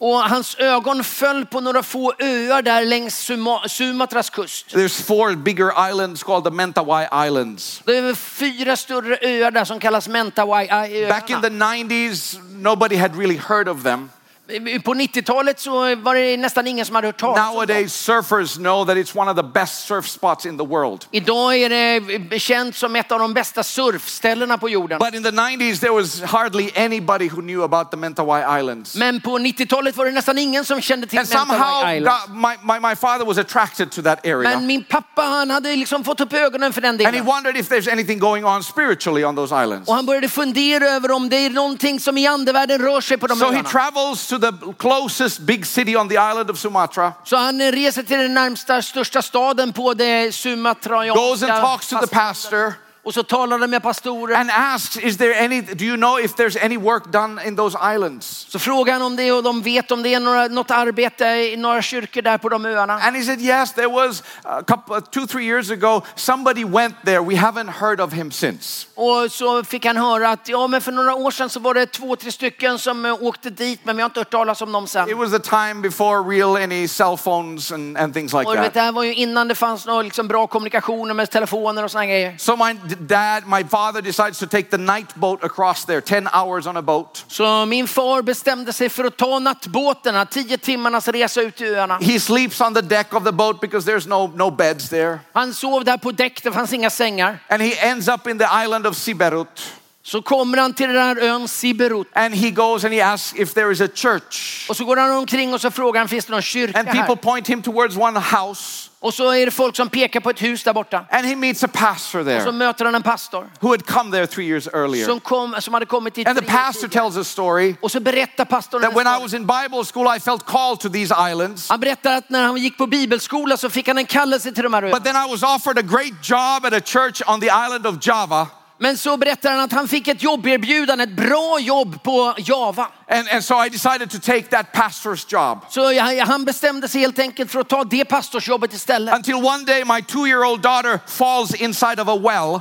Och hans ögon föll på några få öar där längs Suma- Sumatras kust. There's four bigger islands called the Mentawai Islands. Det är fyra större öar där som kallas Back in Mentawai-öarna. the 90s, nobody had really heard of them. Eh, På 90-talet så var det nästan ingen som hade hört talas om dem. Nowadays, surfers know that it's one of the best surf spots in the world. Idag är det eh, känt som ett av de bästa surfställena på jorden. But in the 90s, there was hardly anybody who knew about the Mentawai Islands. Men på 90-talet var det nästan ingen som kände till and somehow Mentawai Island. God- my, my, my father was attracted to that area. Men min pappa han hade liksom fått upp ögonen för den and he delen. wondered if there's anything going on spiritually on those islands. Och han började fundera över om det är någonting som i andevärlden rör sig på de So he öarna. travels to the closest big city on the island of Sumatra, Så han eh, reser till den närmsta största staden på det goes and sumatrianska. talks to the pastor, Och så talar han med pastorer. and asks, Is there any, do you know if there's any work done in those islands? Så frågar han om det och de vet om det är några, något arbete i några kyrkor där på de öarna. And he said, Yes, there was a couple, two, three years ago, somebody went there. We haven't heard of him since. Och så fick han höra att ja, men för några år sedan så var det två, tre stycken som eh, åkte dit men vi har inte hört talas om dem sen. It was a time before real any cell phones and, and things like Och du vet, det that. här var ju innan det fanns några liksom bra kommunikationer med telefoner och såna här grejer. So my d- dad, my father decides to take the night boat across there, 10 hours on a boat. Så min far bestämde sig för att ta nattbåtarna, tio timmarnas resa ut till öarna. He sleeps on the deck of the boat because there's no, no beds there. Han sov där på däck, det fanns inga sängar. And he ends up in the island of Siberut. Så kommer han till den här ön Siberut And he goes and he asks if there is a church. och så går han omkring och så frågar han finns det någon kyrka And people här? point him towards one house. Och så är det folk som pekar på ett hus där borta. And he meets a pastor Så there möter han en pastor who had come there three years earlier. som, kom, som hade kommit dit. And the tre år pastor tidigare. tells a story Och så berättar pastorn en that when I story. was in Bible school, I felt called to these islands. Han berättar att när han gick på bibelskola så fick han en kallelse till de här öarna. But then I was offered a great job at a church on the island of Java. Men så berättar han att han fick ett jobberbjudande, ett bra jobb på Java. And, and so I decided to take that pastor's job. Så jag- han bestämde sig helt enkelt för att ta det pastorsjobbet istället. Until one day, my two year old daughter falls inside of a well.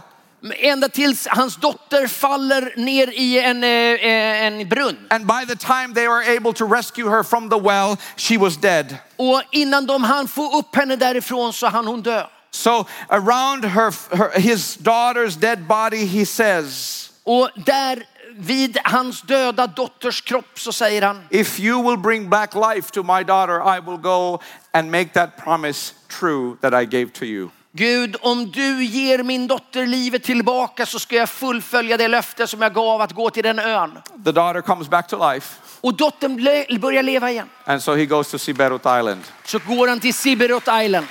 Ända tills hans dotter faller ner i en, eh, eh, en brunn. And by the time they were able to rescue her from the well, she was dead. Och innan de hann få upp henne därifrån så hann hon dö. So around her, her his daughter's dead body, he says, Och där vid hans döda dotters kropp så säger han, If you will bring back life to my daughter, I will go and make that promise true that I gave to you. Gud om du ger min dotter livet tillbaka så ska jag fullfölja det löfte som jag gav att gå till den ön. The daughter comes back to life, Och dottern ble- börjar leva igen. and so he goes to Siberut Island. Så går han till Sibirut Island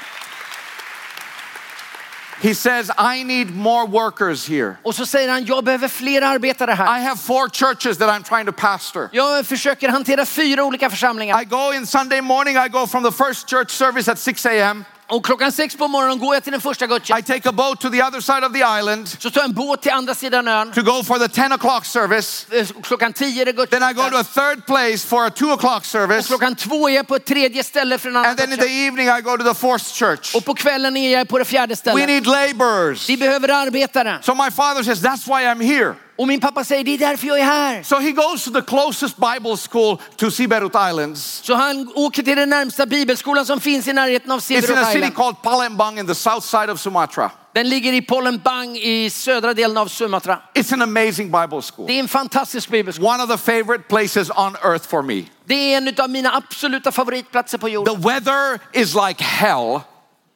He says, I need more workers here. och så säger han, jag behöver fler arbetare här. I have four churches that I'm trying to pastor. Jag försöker hantera fyra olika församlingar I go in Sunday morning, I go from the first church service at 6 a.m. och klockan sex på morgonen går jag till den första gudstjänsten. I take a boat to the other side of the island Så tar jag en båt till andra sidan ön. to go for the 10 o'clock service. Eh, Klockan tio är det Then I go to gudstjänsten. a third place for a 2 o'clock Och service. klockan två är jag på ett tredje ställe för en annan And then in the gudstjänst. evening, I go to the fourth church. Och på kvällen är jag på det fjärde We stället. need laborers. Vi behöver arbetare. So my father says, That's why I'm here. Och min pappa säger, det är därför jag är här. So he goes to the closest Bible school to Siberut Islands. Så han åker till den närmsta bibelskolan som finns i närheten av It's in a Sibirut city Island. called Palembang in the south side of Sumatra. Den ligger i Pollenbang i södra delen av Sumatra. It's an amazing Bible school. Det är en fantastisk bibelskola. One of the favorite places on earth for me. Det är en av mina absoluta favoritplatser på The jorden. weather is like hell.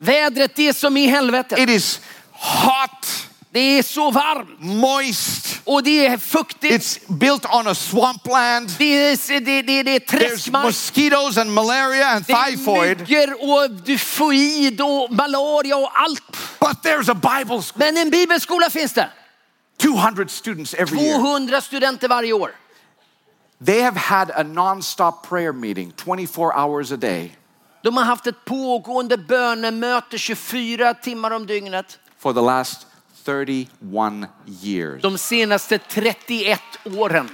Vädret, det är som i helvetet. It is hot, Det är så varmt moist. och det är fuktigt. It's built on a swampland. Det är, det, det, det är There's träskmark. mosquitoes and malaria and Det är typhoid. myggor och tyfoid och malaria och allt. But there's a Bible school. Men en bibelskola finns det. 200 students every year. 200 studenter varje år. They have had a non-stop prayer meeting 24 hours a day De har haft ett pågående bönemöte 24 timmar om dygnet. for the last 31 years. De senaste 31 åren.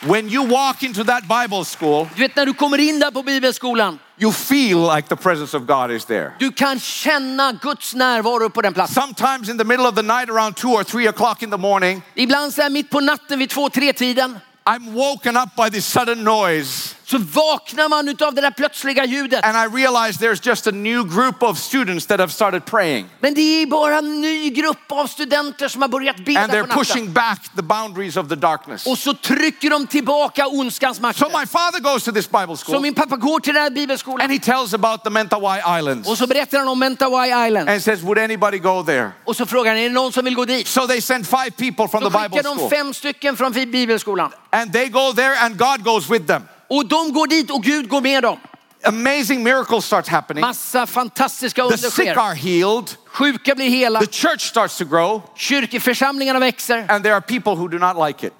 When you walk into that Bible school, Du vet när du kommer in där på bibelskolan. you feel like the presence of God is there. Du kan känna Guds närvaro på den platsen. Sometimes in the middle of the night around 2 or 3 o'clock in the morning, Ibland så här mitt på natten vid två, tre tiden I'm woken up by this sudden noise så vaknar man utav det där plötsliga ljudet. and I realize there's just a new group of students that have started praying Men det är bara en ny grupp av studenter som har börjat and bedja they're på natten. pushing back the boundaries of the darkness. Och så trycker de tillbaka ondskans So makter. my father goes to this Bible Så school min pappa går till den här and bibelskolan he tells about the Mentawai Islands och så berättar han om Mentawai Island. and says, Would anybody go there? Och så frågar han, är det någon som vill gå dit? So they send five people from Då the Bible skickar de school fem stycken från bibelskolan. and they go there and God goes with them. Och de går dit och Gud går med dem. Amazing miracles start happening. Massa fantastiska The under sick sker. are healed. Sjuka blir hela, The church starts to grow kyrkoförsamlingarna växer and there are people who do not like it.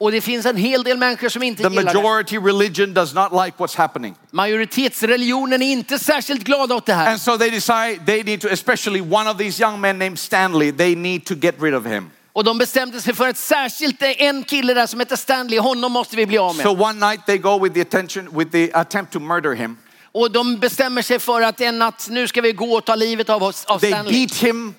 och det finns en hel del människor som inte The gillar det. majority religion does not like what's happening. Ah. Majoritetsreligionen är inte särskilt glada åt det här. And so they decide they need to, especially one of these young men named Stanley, they need to get rid of him. Och de bestämde sig för att särskilt eh, en kille där som heter Stanley, honom måste vi bli av So med. one night they go with the attention, with the attempt to murder him. Och de bestämmer sig för att en natt, nu ska vi gå och ta livet av, oss, av They Stanley. beat him,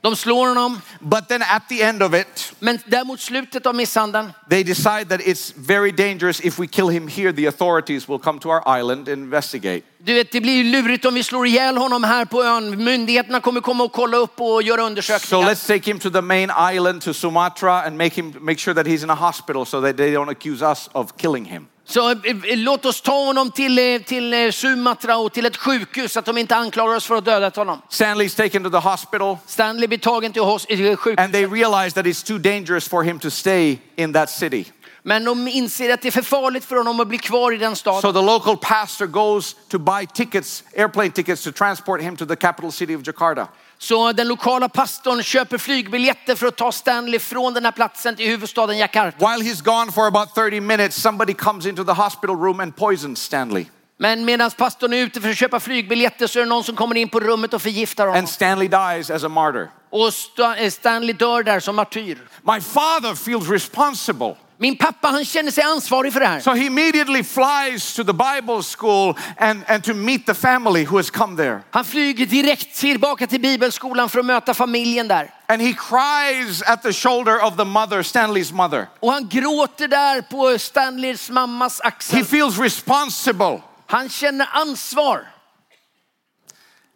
De slår honom, but then at the end of it, men däremot slutet av misshandeln they decide that it's very dangerous. If we kill him here, the authorities will come to our island and investigate. Du vet, det blir ju lurigt om vi slår ihjäl honom här på ön. Myndigheterna kommer komma och kolla upp och göra So undersökningar. let's take him to the main island to Sumatra and make him make sure that he's in a hospital so that they don't accuse us of killing him. Så eh, eh, låt oss ta honom till, eh, till eh, Sumatra och till ett sjukhus så att de inte anklagar oss för att ha dödat honom. Stanley's taken to the hospital. Stanley blir tagen till hos- eh, sjukhus. and they realize that it's too dangerous for him to stay in that city. Men de inser att det är för farligt för honom att bli kvar i den So staden. the local pastor goes to buy tickets, airplane tickets, to transport him to the capital city of Jakarta. Så den lokala pastorn köper flygbiljetter för att ta Stanley från den här platsen till huvudstaden Jakarta. While he's gone for about 30 minutes, somebody comes into the hospital room and poisons Stanley. Men medan pastorn är ute för att köpa flygbiljetter så är det någon som kommer in på rummet och förgiftar honom. And Stanley dies as a martyr. Och Sta- eh, Stanley dör där som martyr. My father feels responsible. Min pappa han känner sig ansvarig för det här. So he immediately flies to the Bible school and, and to meet the family who has come there. Han flyger direkt tillbaka till bibelskolan för att möta familjen där. And he cries at the shoulder of the mother, Stanley's mother. Och han gråter där på Stanleys mammas He axel. feels responsible. Han känner ansvar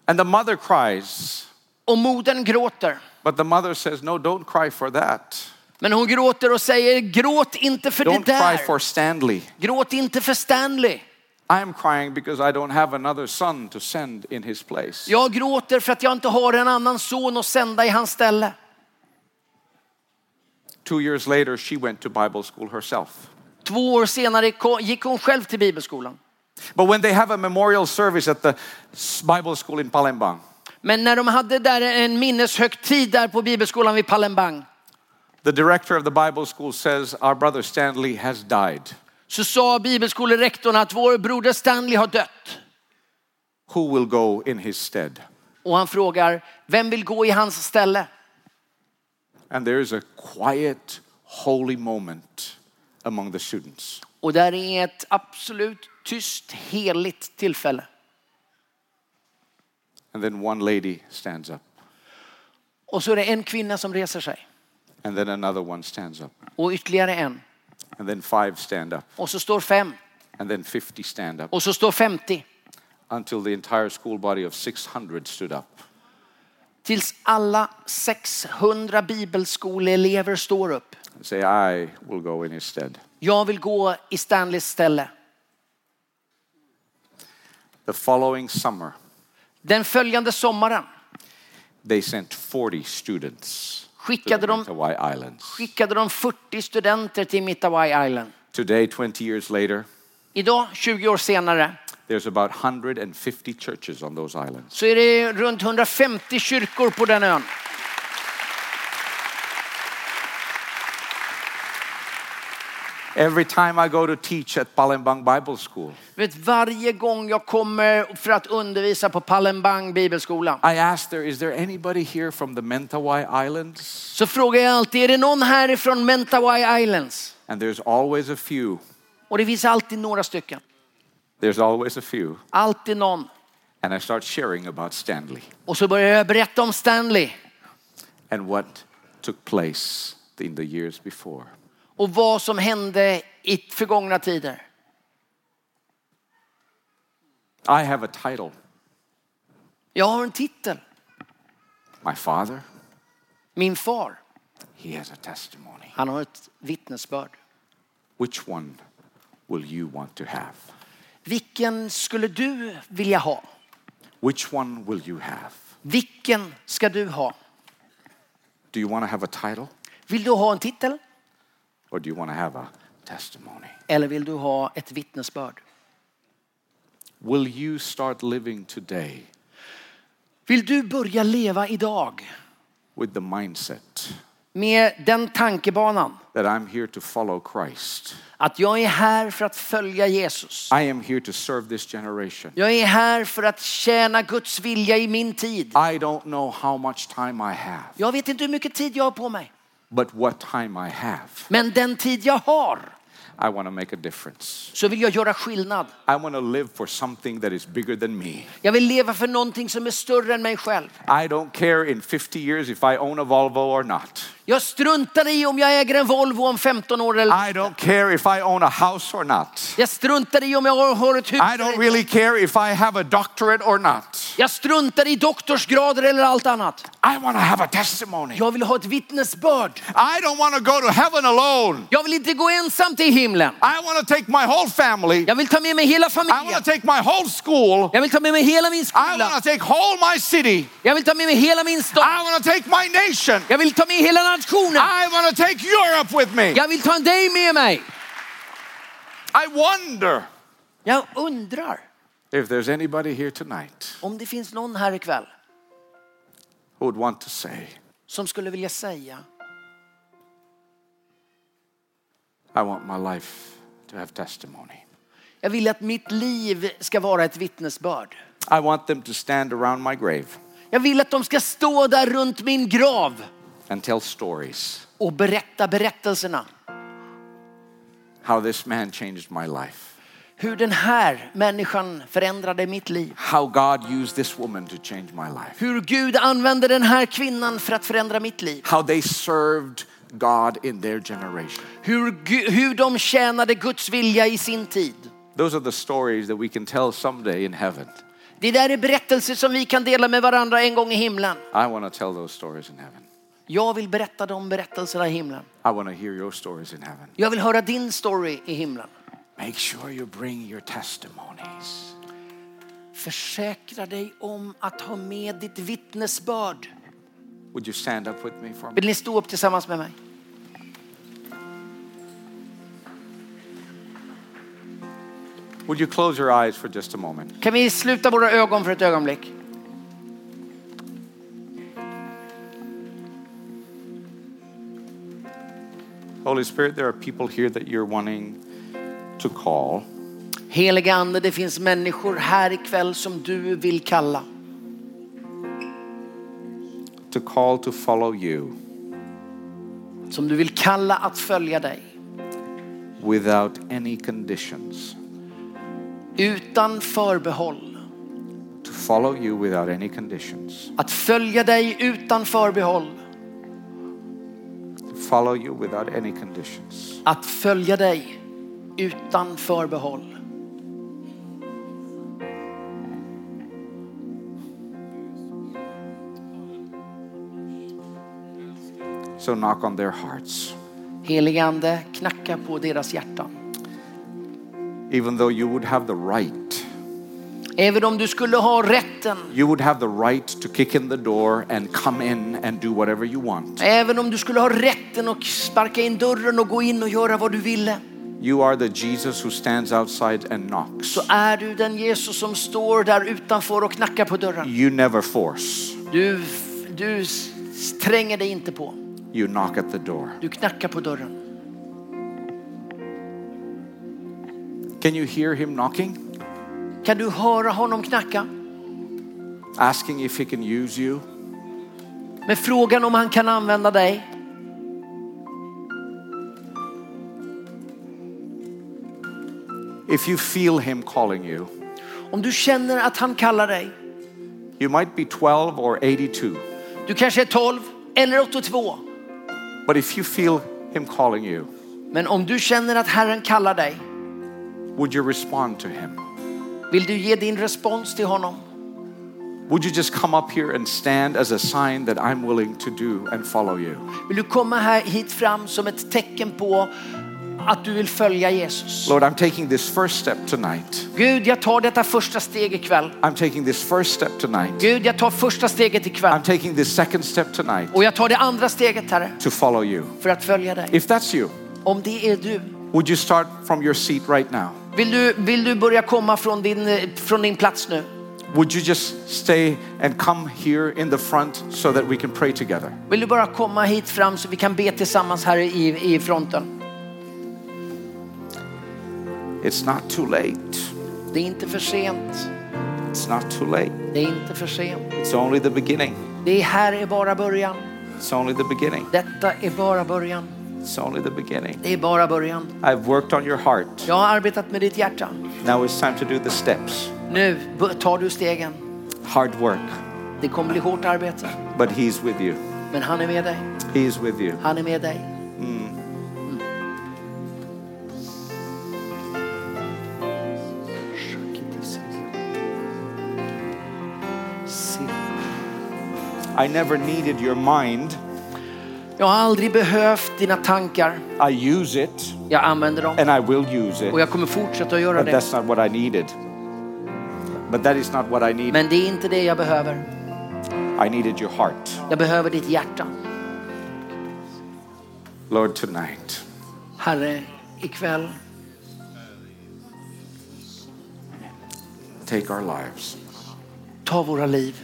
And the mother cries. och modern gråter. But the mother says, No, don't cry for that. Men hon gråter och säger, gråt inte för Don't det cry där. for Stanley. Gråt inte för Stanley. I'm crying because I don't have another son to send in his place. Jag gråter för att jag inte har en annan son att sända i hans ställe. Two years later, she went to Bible school herself. Två år senare ko- gick hon själv till bibelskolan. But when they have a memorial service at the s- Bible school in Palembang, Men när de hade där en minneshögtid där på bibelskolan vid Palembang the director of the Bible school says, Our brother Stanley has died. så sa bibelskolerektorn att vår broder Stanley har dött. Who will go in his stead? Och han frågar, vem vill gå i hans ställe? And there is a quiet, holy moment among the students. Och där är ett absolut tyst, heligt tillfälle. And then one lady stands up, Och så är det en kvinna som reser sig. and then another one stands up, Och ytterligare en. and then five stand up, Och så står fem. and then 50 stand up, Och så står 50. until the entire school body of 600 stood up. Tills alla 600 bibelskoleelever står upp. and say, I will go in his stead. Jag vill gå i Stanleys ställe. The following summer, Den följande sommaren they sent 40 students to skickade the de, Mentawai Islands. skickade de 40 studenter till Mittawai Island. Today, 20 years later, Idag, 20 år senare, there's about 150 churches on those islands. så är det runt 150 kyrkor på den ön. Every time I go to teach at Palembang Bible School, Vet, varje gång jag kommer för att undervisa på Palembang bibelskola I ask there, is there anybody here from the Mentawai Islands? så frågar jag alltid, är det någon härifrån Mentawai Islands? And there's always a few. Och det finns alltid några stycken. There's always a few. Alltid någon. And I start sharing about Stanley Och så börjar jag berätta om Stanley and what took place in the years before. och vad som hände i förgångna tider. I have a title Jag har en titel, My father, min far. he has a testimony. Han har ett vittnesbörd. Which one will you want to have? Vilken skulle du vilja ha? Which one will you have? Vilken ska du ha? Do you want to have a title Vill du ha en titel or do you want to have a testimony? eller vill du ha ett vittnesbörd? Will you start living today Vill du börja leva idag with the mindset med den tankebanan that I'm here to follow Christ? att jag är här för att följa Jesus. I am here to serve this generation. Jag är här för att tjäna Guds vilja i min tid. I don't know how much time I have, Jag vet inte hur mycket tid jag har på mig, but what time I have, men den tid jag har I want to make a difference. så vill jag göra skillnad. I want to live for something that is bigger than me. Jag vill leva för någonting som är större än mig själv. I don't care in 50 years if I own a Volvo or not. Jag struntar i om jag äger en Volvo om 15 år eller I don't care if I own a house or not. Jag struntar i om jag har ett hus I eller don't inte. really care if I have a doctorate or not. Jag struntar i doktorsgrader eller allt annat. I want to have a testimony. Jag vill ha ett vittnesbörd. I don't want to go to heaven alone. Jag vill inte gå ensam till himlen. I want to take my whole family. Jag vill ta med mig hela I want familjen. to take my whole school. Jag vill ta med mig hela min I skola. want to take whole my city. Jag vill ta med mig hela min I stad. want to take my nation. Jag vill ta med hela nationen. I want to take Europe with me. Jag vill ta dig med mig. I wonder Jag undrar if there's anybody here tonight om det finns någon här ikväll who would want to say, som skulle vilja säga I want my life to have testimony. jag vill att mitt liv ska vara ett vittnesbörd. I want them to stand around my grave Jag vill att de ska stå där runt min grav and tell stories och berätta berättelserna. how this man changed my life, Hur den här människan förändrade mitt liv. how God used this woman to change my life, Hur Gud använde den här kvinnan för att förändra mitt liv. how they served God in their generation. Hur, Gu- hur de tjänade Guds vilja i sin tid. Those are the stories that we can tell someday in heaven. Det där är berättelser som vi kan dela med varandra en gång i himlen. I want to tell those stories in heaven. Jag vill berätta de berättelserna i himlen. I want to hear your stories in heaven. Jag vill höra din story i himlen. Make sure you bring your testimonies. Försäkra dig om att ha med ditt vittnesbörd. Would you stand up with me for a minute? Vill ni stå upp tillsammans med mig? Would you close your eyes for just a moment? Kan vi sluta våra ögon för ett ögonblick? Holy Spirit, there are people here that you're wanting to call. Helige Ande, det finns människor här ikväll som du vill kalla. to call to follow you Som du vill kalla att följa dig. without any conditions. Utan förbehåll. To follow you without any conditions. Att följa dig utan förbehåll. To follow you without any conditions. Att följa dig utan förbehåll. So knock on their hearts. Helige Ande, knacka på deras hjärtan. Even though you would have the right, Även om du skulle ha rätten, you would have the right to kick in the door and come in and do whatever you want. även om du skulle ha rätten att sparka in dörren och gå in och göra vad du ville, You are the Jesus who stands outside and knocks. så är du den Jesus som står där utanför och knackar på dörren. You never force, Du, du s- tränger dig inte på. you knock at the door. Du knackar på dörren. Can you hear him knocking? Kan du höra honom knacka? Asking if he can use you? Med frågan om han kan använda dig. If you feel him calling you, Om du känner att han kallar dig. You might be 12 or 82, Du kanske är 12 eller 82. but if you feel Him calling you, Men om du känner att Herren kallar dig, would you respond to Him? vill du ge din respons till honom? Would you just come up here and stand as a sign that I'm willing to do and follow you? Vill du komma här hit fram som ett tecken på att du vill följa Jesus? Lord, I'm taking this first step tonight. Gud, jag tar detta första steg ikväll. I'm taking this first step tonight. Gud, jag tar första steget ikväll. I'm taking this second step tonight Och jag tar det andra steget, Herre, to follow you. för att följa dig. If that's you, Om det är du, would you start from your seat right now? vill du, vill du börja komma från din, eh, från din plats nu? Would you just stay and come here in the front so that we can pray together? Vill du bara komma hit fram så vi kan be tillsammans här i, i fronten? It's not too late. Det är inte för sent. It's not too late. Det är inte för sent. It's only the beginning. Det här är bara början. It's only the beginning. Detta är bara början. It's only the beginning. Det är bara början. I've worked on your heart. Jag har arbetat med ditt hjärta. Now it's time to do the steps. Nu b- tar du stegen. Hard work. Det kommer bli hårt arbete, But He's with you. men han är med dig. He is with you. Han är med dig. Mm. Mm. I never needed your mind. Jag har aldrig behövt dina tankar. I use it Jag använder dem and I will use it. och jag kommer fortsätta att göra But det. that's not what I needed. But that is not what I need. Men det är inte det jag behöver. I needed your heart. Jag behöver ditt hjärta. Lord, tonight, Herre, ikväll, take our lives. ta våra liv.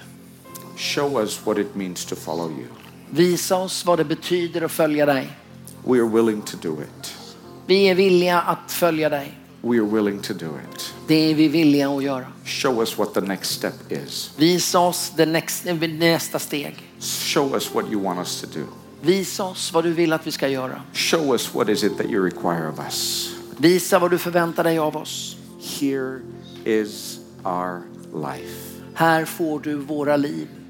Show us what it means to follow you. Visa oss vad det betyder att följa dig. We are willing to do it. Vi är villiga att följa dig. We are willing to do it. Det är vi villiga att göra. Show us what the next step is. Visa oss det näx- eh, nästa steg. Show us what you want us to do. Visa oss vad du vill att vi ska göra. Show us what is it that you require of us. Visa vad du förväntar dig av oss. Here is our life. Här får du våra liv.